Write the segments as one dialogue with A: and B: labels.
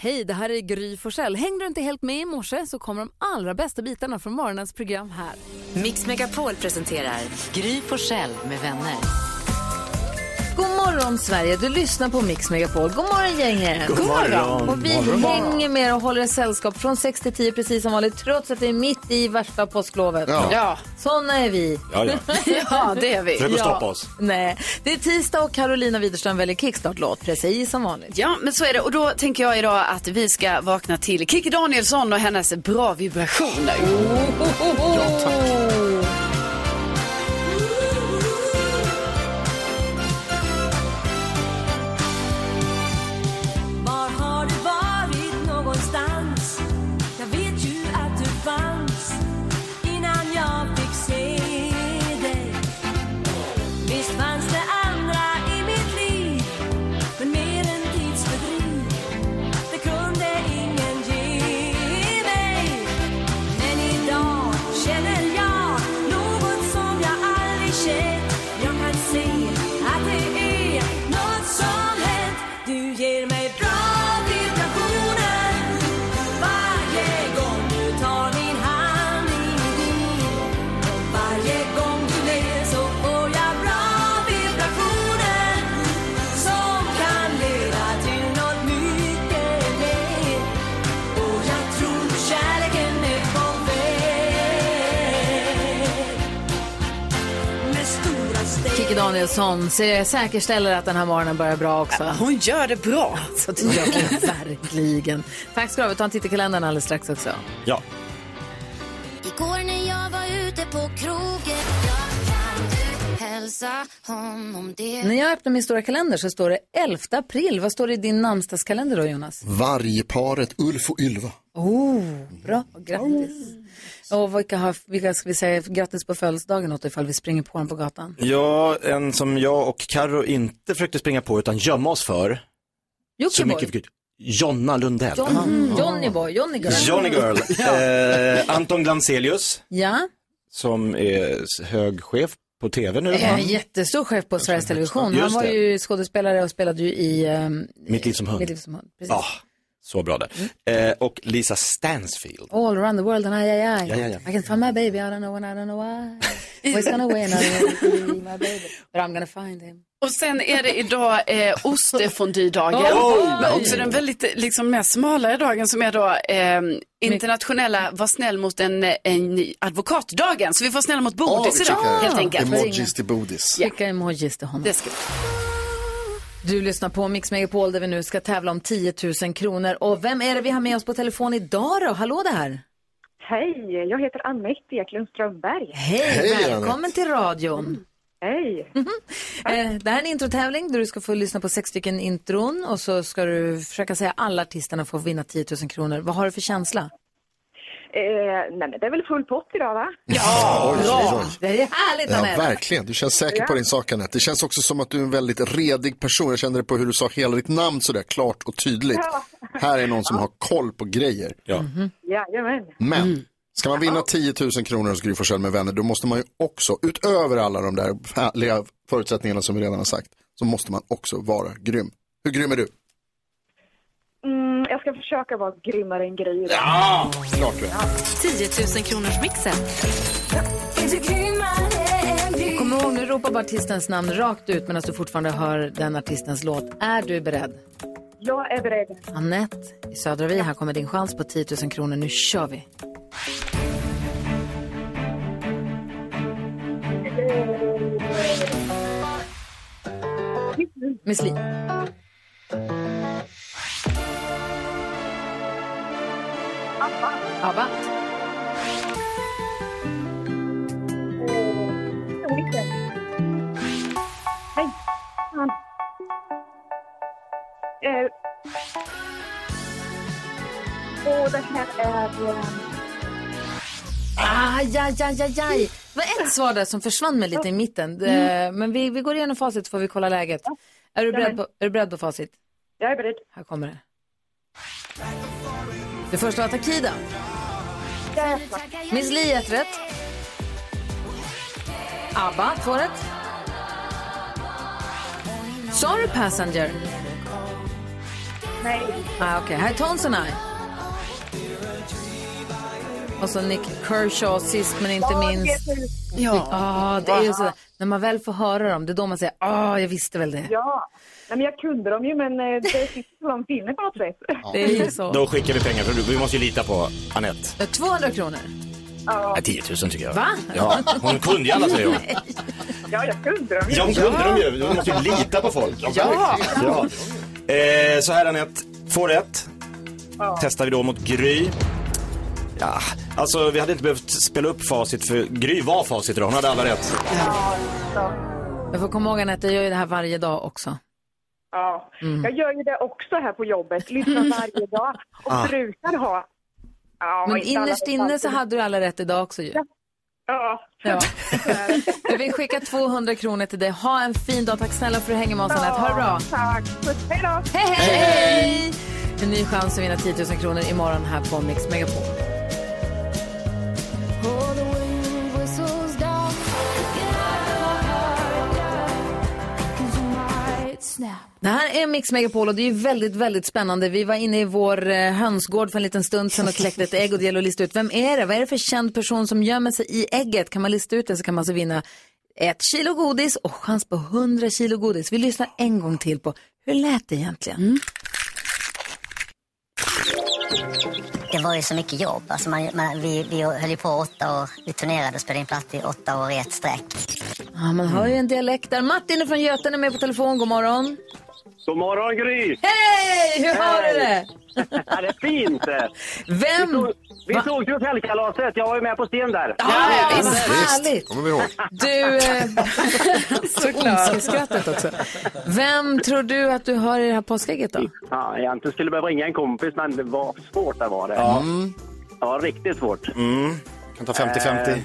A: Hej, det här är Gry Forssell. Hängde du inte helt med i morse så kommer de allra bästa bitarna från morgonens program här.
B: Mix Megapol presenterar Gry Forssell med vänner.
A: God morgon Sverige, du lyssnar på Mix Megapol. God morgon gänget.
C: God morgon.
A: Och vi
C: Morgon, morgon.
A: hänger med och håller er sällskap från 6 till 10 precis som vanligt trots att vi är mitt i värsta påsklovet.
D: Ja. Ja.
A: Såna är vi.
D: Ja, ja.
A: ja, det är vi.
D: Försök att stoppa oss.
A: Nej, det är tisdag och Carolina Widerström väljer kickstart-låt precis som vanligt.
E: Ja, men så är det. Och då tänker jag idag att vi ska vakna till Kikki Danielsson och hennes bra vibrationer.
F: Var har du varit någonstans? Jag vet ju att du fanns innan jag fick se dig. Visst fanns det andra i mitt liv, men mer än tidsfördriv. Det kunde ingen ge mig. Men idag känner jag något som jag aldrig känt. Jag kan se att det är något som hänt. Du ger mig bra vibrationer varje gång du tar min hand i din. Varje gång du ler så får jag bra vibrationer som kan leda till något mycket mer. Och jag tror kärleken är på väg med stora steg.
A: Kikki Danielsson ser- säkerställer att den här morgonen börjar bra också.
E: hon gör det bra.
A: Så det gör hon verkligen. Tack ska du ha. Vi tar en titt i kalendern alldeles strax också.
D: Ja.
G: Igår när jag var ute på krogen Jag kan du hälsa honom det
A: När jag öppnar min stora kalender så står det 11 april. Vad står det i din namnsdagskalender då, Jonas?
C: Vargparet Ulf och Ylva.
A: Oh, bra. Grattis. Och vilka, har, vilka ska vi säga grattis på födelsedagen åt ifall vi springer på honom på gatan?
D: ja, en som jag och Karo inte försökte springa på utan gömma oss för. så
A: Jockiboi.
D: mycket vi kunde. Jonna Lundell.
A: John, Johnny Boy, Johnny Girl.
D: Johnny Girl. eh, Anton Glanzelius,
A: Ja,
D: som är s- hög chef på tv nu.
A: en jättestor chef på Sveriges Television. Han
D: Just
A: var
D: det.
A: ju skådespelare och spelade ju i ehm,
D: Mitt liv som hund.
A: Mitt liv som hund. Precis.
D: Ja, ah, så bra där. Eh, och Lisa Stansfield.
A: All around the world and I, I, I.
D: Ja, ja, ja.
A: I can find my baby, I don't know when, I don't know why. Always gonna win, I don't know if he'll be my baby. But I'm gonna find him.
E: Och sen är det idag eh, ostfondydagen.
D: Oj!
E: Men också den väldigt eh, liksom, mer smalare dagen som är då eh, internationella var snäll mot en, en advokatdagen. Så vi får snälla mot Bodis idag helt enkelt.
A: Ringa.
C: Emojis till bodis.
A: Skicka emojis till honom.
E: Det ska vi.
A: Du lyssnar på Mix Megapol där vi nu ska tävla om 10 000 kronor. Och vem är det vi har med oss på telefon idag då? Hallå där!
H: Hej, jag heter Anette Eklund Strömberg.
A: Hej,
C: Hej,
A: välkommen
C: Annette.
A: till radion.
H: Mm, Hej.
A: Eh, det här är en introtävling där du ska få lyssna på sex stycken intron och så ska du försöka säga alla artisterna får vinna 10 000 kronor. Vad har du för känsla?
H: Eh, nej, men det är väl full pott idag va?
C: Ja, oj, oj, oj.
A: Det är härligt
C: Ja,
A: Annette!
C: verkligen. Du känns säker på din sak, Anette. Det känns också som att du är en väldigt redig person. Jag kände det på hur du sa hela ditt namn sådär klart och tydligt. Här är någon som har koll på grejer.
D: Ja.
A: Mm-hmm.
H: Jajamän.
E: Mm.
C: Men ska man vinna 10 000 kronor hos Gry Forssell med vänner, då måste man ju också, utöver alla de där härliga förutsättningarna som vi redan har sagt, så måste man också vara grym. Hur grym är du?
H: Mm, jag ska försöka vara grymmare än Gry idag.
C: Klart du är.
B: 10 000 kronors mixen.
F: Är du grymmare än Gry?
A: Kom ihåg, nu ropa bara artistens namn rakt ut medan du fortfarande hör den artistens låt. Är du beredd?
H: Jag är beredd.
A: Annette i Södra Vi, här kommer din chans på 10 000 kronor. Nu kör vi! Miss Li. ABBA.
H: Hej. Fan. Eh. Och det här är... eh,
A: Aj, aj, aj, aj, aj. Det var ett svar där som försvann med lite i mitten. Eh, Men vi, vi går igenom facit så får vi kolla läget. Är du beredd på, är du beredd på facit?
H: Jag är beredd.
A: Här kommer det. Det första var Takida. Miss Li ett rätt. ABBA två rätt. Sorry Passenger.
H: Nej.
A: Ah, Okej, här är Tones and I. Och så Nick Kershaw sist men inte minst. Ja, ah, det är ju så. När man väl får höra dem, det är då man säger ah, jag visste väl det.
H: Ja. Nej, men jag kunde dem ju, men eh, det sitter som de finner på något sätt.
A: Det är ju så.
D: Då skickar vi pengar, för vi måste ju lita på Anette.
A: 200 kronor.
D: Nej, 10 000 tycker jag.
A: Va?
D: Ja, hon kunde ju alla säger hon.
H: Ja, jag kunde dem ju.
D: Ja, hon kunde de ju. De måste ju lita på folk. Ja. Eh, så här Anette, två rätt. Testar vi då mot Gry. Ja, alltså vi hade inte behövt spela upp facit för Gry var facit idag. Hon hade alla rätt.
A: Jag får komma ihåg Anette, jag gör ju det här varje dag också.
H: Ja.
A: Mm.
H: Jag gör ju det också här på jobbet. Lyssnar varje dag och brukar ha... Ja,
A: Ah. Men
H: inte alla
A: innerst inne så hade du alla rätt idag också ju.
H: Ja.
A: Ja. Jag vill skicka 200 kronor till dig. Ha en fin dag. Tack snälla för att du hänger med oss Anette. Ha det bra.
H: Tack. Puss. Hej då.
A: Hej, hej! En ny chans att vinna 10 000 kronor imorgon här på Mix Megapol. Det här är Mix Megapol och det är ju väldigt, väldigt spännande. Vi var inne i vår eh, hönsgård för en liten stund sedan och kläckte ett ägg och det gäller att lista ut vem är det? Vad är det för känd person som gömmer sig i ägget? Kan man lista ut det så kan man alltså vinna ett kilo godis och chans på 100 kilo godis. Vi lyssnar en gång till på hur lät det egentligen?
I: Det var ju så mycket jobb. Alltså man, man, vi, vi höll ju på åtta år. Vi turnerade och spelade in platt i åtta år i ett streck.
A: Ja, man hör ju en dialekt där. Martin är från Götene är med på telefon. God morgon.
J: God morgon Gry!
A: Hej! Hur har du det?
J: Ja, det är fint!
A: Vem?
J: Vi såg ju fjällkalaset, jag var ju med på scen där.
A: Ja, vad härligt.
C: Kommer vi ihåg.
A: Du, eh, så ondskeskrattet också. Vem tror du att du hör i det här påskägget då?
J: Ja, egentligen skulle jag behöva ringa en kompis, men det var svårt det var det. Ja, riktigt svårt.
D: Kan ta 50-50.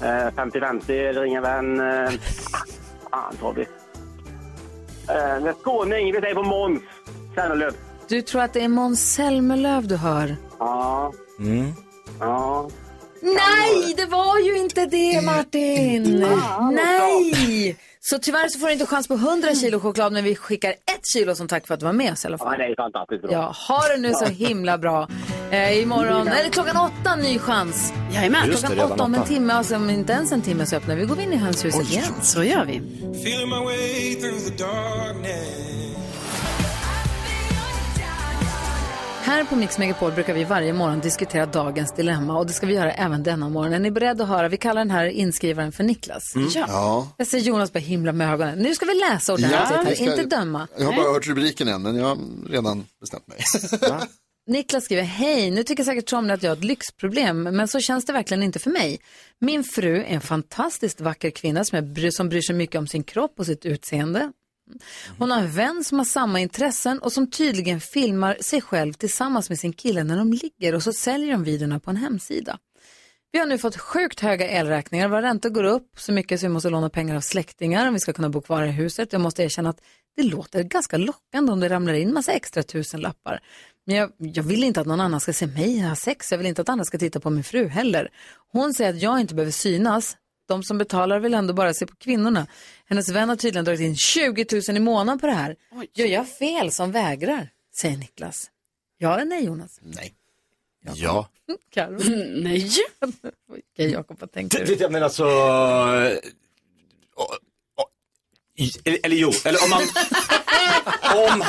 J: Eh, 50-50, ringa vän. Eh, fan tar vi. Eh, en skåning, vi säger på Måns Zelmerlöw.
A: Du tror att det är Måns Zelmerlöw du hör?
J: Ja,
D: Mm.
J: ja.
A: Nej, det var ju inte det Martin! Eh, Nej! Så tyvärr så får du inte chans på 100 kilo choklad men vi skickar ett kilo som tack för att du var med oss i alla fall.
J: ja, det är fantastiskt bra.
A: Ja, ha det nu så himla bra. Eh, imorgon, eller klockan åtta, ny chans.
E: Jajamän,
D: Just det,
A: Klockan
D: redan
A: åtta om en
D: åtta.
A: timme, alltså om inte ens en timme så öppnar vi. Går vi in i hönshuset igen.
E: så gör vi.
A: Här på Mix Megapol brukar vi varje morgon diskutera dagens dilemma och det ska vi göra även denna morgon. Är ni beredda att höra? Vi kallar den här inskrivaren för Niklas. Ja.
C: Ja.
A: Jag ser Jonas börja himla med ögonen. Nu ska vi läsa ordentligt här, inte döma.
C: Jag har bara hört rubriken än, men jag har redan bestämt mig.
A: Niklas skriver, hej, nu tycker säkert Tommy att jag har ett lyxproblem, men så känns det verkligen inte för mig. Min fru är en fantastiskt vacker kvinna som, jag bryr, som bryr sig mycket om sin kropp och sitt utseende. Hon har en vän som har samma intressen och som tydligen filmar sig själv tillsammans med sin kille när de ligger och så säljer de videorna på en hemsida. Vi har nu fått sjukt höga elräkningar. Våra räntor går upp så mycket så vi måste låna pengar av släktingar om vi ska kunna bo kvar i huset. Jag måste erkänna att det låter ganska lockande om det ramlar in massa extra tusenlappar. Men jag, jag vill inte att någon annan ska se mig ha sex. Jag vill inte att andra ska titta på min fru heller. Hon säger att jag inte behöver synas. De som betalar vill ändå bara se på kvinnorna. Hennes vän har tydligen dragit in 20 000 i månaden på det här. Gör jag fel som vägrar? Säger Niklas. Ja eller nej Jonas?
D: Ja.
A: Karo.
D: Mm.
E: Nej.
A: Okej Jakob, vad tänker du?
D: Jag menar alltså... och- och- i- Eller jo, eller om man... Om,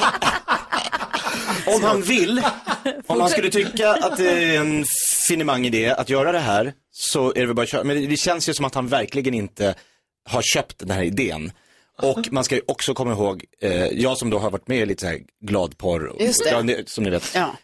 D: om han vill, om han skulle tycka att det är en finemang idé att göra det här, så är det väl bara att köra. Men det- det känns ju som att han verkligen inte har köpt den här idén. Och man ska ju också komma ihåg, eh, jag som då har varit med i lite så här gladporr, och-
E: Just det.
D: Ja, det- som ni vet,
E: Ja.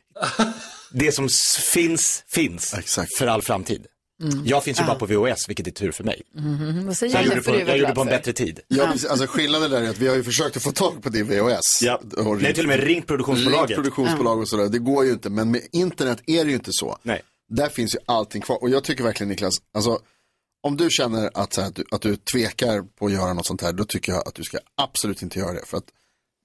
D: det som s- finns, finns
C: Exakt.
D: för all framtid.
E: Mm.
D: Jag finns ju bara på VHS, vilket är tur för mig.
A: Mm, vad
D: Så
A: säger
D: jag,
A: du?
D: gjorde på, jag gjorde på en bättre tid.
C: Ja, precis. alltså skillnaden där är att vi har ju försökt att få tag på din VHS. Och
D: Nej, till och med ringt
C: Ringt
D: produktionsbolaget.
C: produktionsbolag och sådär. Det går ju inte, men med internet är det ju inte så.
D: Nej.
C: Där finns ju allting kvar. Och jag tycker verkligen Niklas, alltså, om du känner att, så här, att, du, att du tvekar på att göra något sånt här, då tycker jag att du ska absolut inte göra det. För att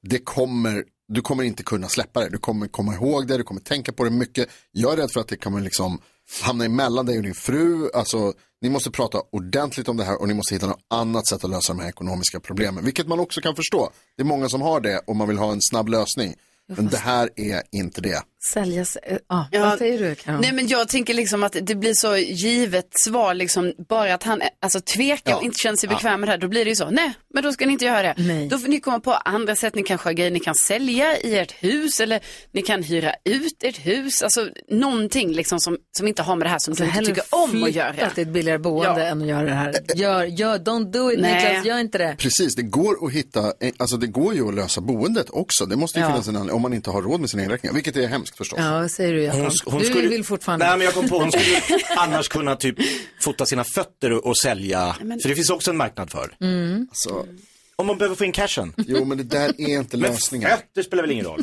C: det kommer, du kommer inte kunna släppa det. Du kommer komma ihåg det, du kommer tänka på det mycket. Jag är rädd för att det kommer liksom hamna emellan dig och din fru. Alltså, ni måste prata ordentligt om det här och ni måste hitta något annat sätt att lösa de här ekonomiska problemen. Vilket man också kan förstå. Det är många som har det och man vill ha en snabb lösning. Men det här är inte det.
A: Säljas, eh, ja, vad säger du Karin?
E: Nej men jag tänker liksom att det blir så givet svar liksom, bara att han eh, alltså, tvekar och inte känner sig bekväm med det här, då blir det ju så, nej men då ska ni inte göra det. Då får ni komma på andra sätt, ni kanske har grejer ni kan sälja i ert hus eller ni kan hyra ut ert hus, alltså någonting liksom som, som inte har med det här som du inte tycker om att göra.
A: Alltså, till ett billigare boende
E: Ja.
A: än att göra det här. Gör, gör, don't do it
E: Nej.
A: Niklas, gör inte det.
C: Precis, det går att hitta, alltså det går ju att lösa boendet också. Det måste ju
A: Ja.
C: finnas en anledning om man inte har råd med sina elräkningar, vilket är hemskt förstås.
A: Ja, vad säger du Jakob? Du vill fortfarande...
D: Nej, men jag kom på, hon skulle annars kunna typ fota sina fötter och, och sälja.
A: men-
D: För det finns också en marknad för.
A: Mm.
C: Alltså,
D: om man behöver få in cashen.
C: Jo, men det där är inte lösningen.
D: Men fötter spelar väl ingen roll?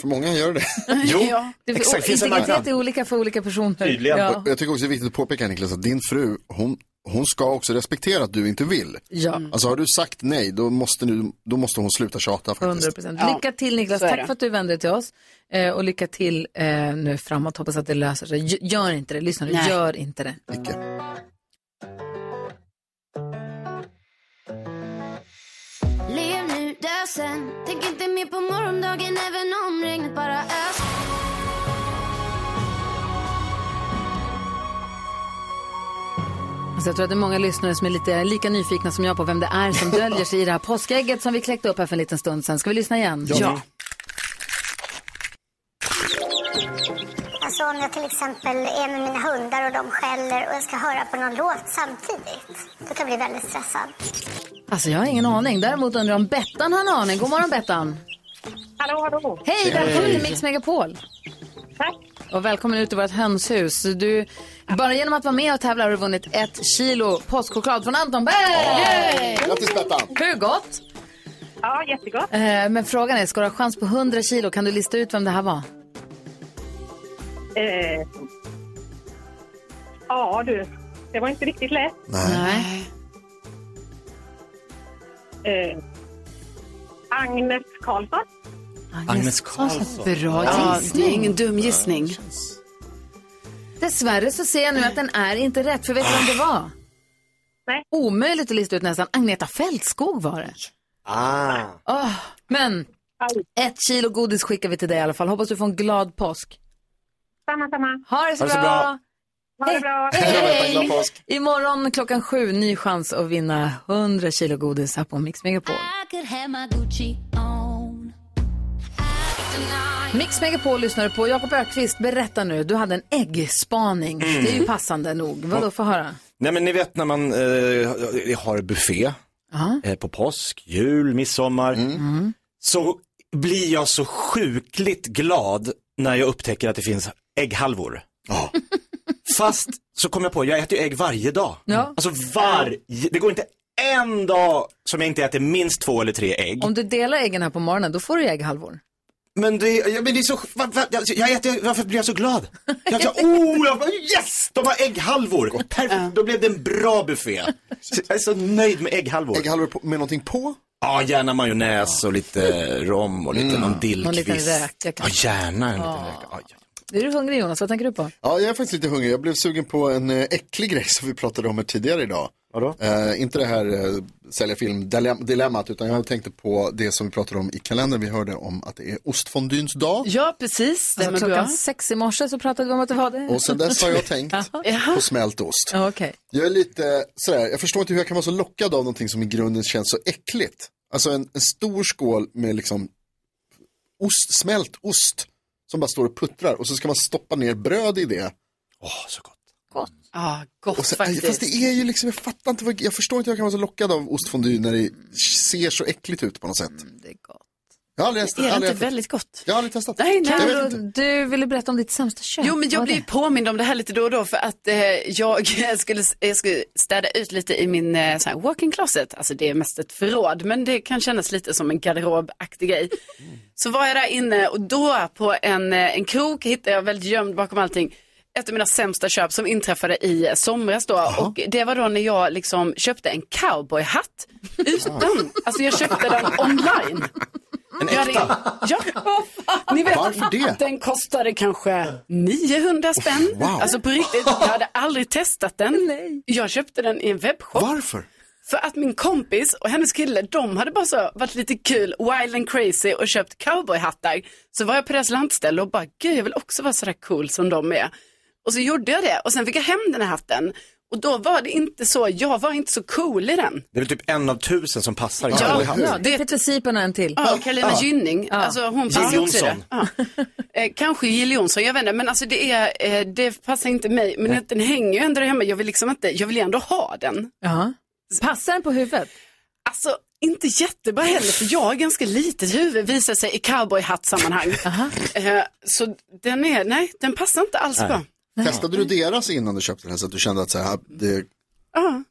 C: För många gör det.
D: Jo,
A: Det,
C: exakt,
A: och
C: finns en
A: integritet
C: marknad.
A: är olika för olika personer.
C: Tydligen.
A: Ja.
C: Och Jag tycker också det är viktigt att påpeka Niklas att din fru, hon, hon ska också respektera att du inte vill.
A: Ja.
C: Alltså har du sagt nej, då måste, nu, då måste hon sluta tjata faktiskt.
A: 100 procent. Lycka till Niklas,
E: så är
A: tack
E: det.
A: för att du vände dig till oss. Eh, och lycka till eh, nu framåt, hoppas att det löser sig. G- Gör inte det, lyssna nu,
E: Nej.
A: gör inte det.
G: Lev nu, dö sen. Tänk inte mer på morgondagen även om regnet bara ös.
A: Alltså jag tror att det är många lyssnare som är lite lika nyfikna som jag på vem det är som döljer sig i det här påskägget som vi kläckte upp här för en liten stund sedan. Ska vi lyssna igen?
G: Ja.
K: Alltså om jag till exempel är med mina hundar och de skäller och jag ska höra på någon låt samtidigt, då kan jag bli väldigt stressad.
A: Alltså jag har ingen aning. Däremot undrar jag om Bettan har en aning. God morgon Bettan!
H: Hallå, hallå.
A: Hej, välkommen till Mix Megapol!
H: Tack.
A: Och välkommen ut i vårt hönshus. Du, bara genom att vara med och tävla har du vunnit ett kilo påskchoklad från Anton Berg!
C: Grattis Bettan!
A: Hur gott?
H: Ja, jättegott.
A: Eh, Men frågan är, ska du ha chans på 100 kilo? Kan du lista ut vem det här var?
H: Eh, ja, du. Det var inte riktigt lätt.
A: Nej.
H: Eh, Agnes Karlsson.
D: Agnes Karlsson.
A: Bra
E: Ja, det
A: gissning.
E: är ingen dum gissning.
A: Dessvärre så ser jag nu att den är inte rätt, för vet du vem det var?
H: Nej.
A: Omöjligt att lista ut nästan. Agneta Fältskog var det.
D: Ah.
A: Åh, men ett kilo godis skickar vi till dig i alla fall. Hoppas du får en glad påsk.
H: Samma, samma.
A: Ha det så,
H: Ha det så
A: bra.
H: bra. Ha det bra.
A: Hej! Imorgon klockan sju, ny chans att vinna 100 kilo godis här på Mix Megapol.
F: I could have my Gucci on.
A: Mix Megapol lyssnar du på. Jakob Ökvist, berätta nu. Du hade en äggspaning.
D: Mm.
A: Det är ju passande nog. Vadå, få höra.
D: Nej men ni vet när man eh, har buffé
A: Ja. Mm.
D: eh, på påsk, jul, midsommar. Så blir jag så sjukligt glad när jag upptäcker att det finns ägghalvor. Fast så kom jag på, jag äter ju ägg varje dag.
A: Ja.
D: Alltså varje, det går inte en dag som jag inte äter minst två eller tre ägg.
A: Om du delar äggen här på morgonen, då får du ägghalvor.
D: Men det, ja, men det är så, va, va, jag, jag äter, varför blir jag så glad? Jag, jag, oh, jag, bara, yes, de har ägghalvor. Perfekt, då blev det en bra buffé. Så Jag är så nöjd med ägghalvor.
C: Ägghalvor med någonting på?
D: Ja, gärna majonnäs och lite rom och lite någon dillkvist.
A: Någon liten räka
D: Ja,
A: kanske.
D: gärna en liten
A: Ja.
D: räka. Aj, aj.
A: Är du hungrig Jonas? Vad tänker du på?
C: Ja, jag är faktiskt lite hungrig. Jag blev sugen på en eh, äcklig grej som vi pratade om här tidigare idag.
D: Vadå?
C: Eh, inte det här eh, sälja film-dilemmat, utan jag tänkte på det som vi pratade om i kalendern. Vi hörde om att det är ostfondyns dag.
E: Ja, precis.
A: Alltså,
E: Stämmer
A: klockan
E: bra.
A: sex i morse så pratade vi om att det var det.
C: Och sen dess har jag tänkt på smält ost.
A: Ja, Okej.
C: Jag är lite sådär, jag förstår inte hur jag kan vara så lockad av någonting som i grunden känns så äckligt. Alltså en, en stor skål med liksom ost, smält ost som bara står och puttrar och så ska man stoppa ner bröd i det.
D: Åh, så gott.
A: Gott.
E: Ja, gott
C: Och sen, aj,
E: faktiskt.
C: fast det är ju liksom, jag fattar inte, vad, jag förstår inte hur jag kan vara så lockad av ostfondue när det ser så äckligt ut på något sätt.
A: det är gott.
C: Jag har aldrig, ätit-
E: Är det
C: aldrig
E: inte
C: ätit-
E: väldigt gott?
C: jag har aldrig testat.
E: Nej, nej.
C: Jag vet
A: Carro,
C: inte.
A: du ville berätta om ditt sämsta köp.
E: Jo, men jag
A: Vad
E: blir
A: är
E: ju påmind om det här lite då och då för att eh, jag, skulle, jag skulle städa ut lite i min eh, så här walk-in closet. Alltså det är mest ett förråd, men det kan kännas lite som en garderobaktig grej. Så var jag där inne och då på en, eh, en krok hittade jag väldigt gömd bakom allting ett av mina sämsta köp som inträffade i somras då och det var då när jag liksom köpte en cowboyhatt utan, alltså jag köpte den online.
D: En
E: Jag hade-
D: äkta.
E: Ja, ni vet,
C: Varför det?
E: den kostade kanske 900 spänn.
C: wow.
E: Alltså på riktigt, jag hade aldrig testat den. Jag köpte den i en webbshop
C: Varför?
E: För att min kompis och hennes kille, de hade bara så varit lite kul, wild and crazy och köpt cowboyhattar. Så var jag på deras lantställe och bara, gud jag vill också vara sådär cool som de är. Och så gjorde jag det och sen fick jag hem den här hatten. Och då var det inte så, jag var inte så cool i den.
D: Det är väl typ en av tusen som passar i
E: Ja,
D: cowboyhatt.
E: ja,
A: Det är Peter Sipen och en till.
E: Ja, och Carolina
D: Ja.
E: Gynning. Alltså, hon
D: Jill
E: passar också i det.
D: Johnson.
E: Ja. Eh, kanske Jill Johnson, jag vet inte. Men alltså det, är, eh, det passar inte mig. Men den hänger ju ändå där hemma. Jag vill liksom inte, jag vill ju ändå ha den.
A: Ja. Passar den på huvudet?
E: Alltså, inte jättebra heller, för jag har ganska litet huvud visar sig i cowboyhatt-sammanhang. Eh, så den är, nej, den passar inte alls bra.
C: Testade du deras innan du köpte den så att du kände att så här, det,
E: Ja.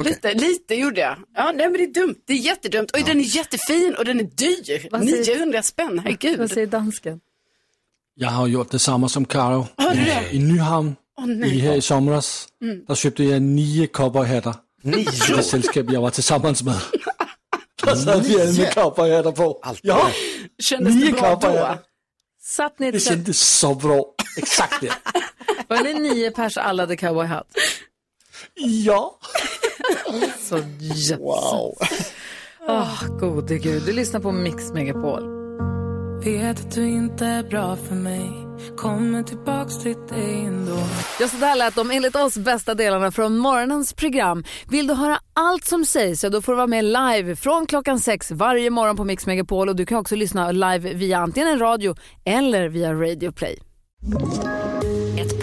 C: Okej.
E: Lite, lite gjorde jag. Ja, nej men det är dumt, det är jättedumt. Oj, den är jättefin och den är dyr.
A: Vad säger-
E: 900 spänn, herregud.
A: Vad säger dansken?
L: Jeg har gjort det samme som Karo.
E: Har du
L: I-
E: det?
L: I Nyhavn
E: Åh, nej.
L: i her i somras,
E: Mm.
L: der købte jeg ni cowboyhatter.
D: Ni?
L: Til det selskab, jeg var til sammens med. Der sad vi alle med cowboyhatter på. Ja,
E: Kändes det bra då?
A: Satt ni i
L: Det
A: ett tält?
L: kändes så bra. Exakt det.
A: Var ni nio pers alla hade cowboyhatt?
L: Ja.
A: Så jösses. Wow. Åh, gode gud. Du lyssnar på Mix Megapol.
M: Vet att du inte är bra för mig Kommer tillbaks till dig ändå
A: Ja, så där lät de enligt oss bästa delarna från morgonens program. Vill du höra allt som sägs så då får du vara med live från klockan sex varje morgon på Mix Megapol och du kan också lyssna live via antingen en radio eller via Radio Play.
N: Ett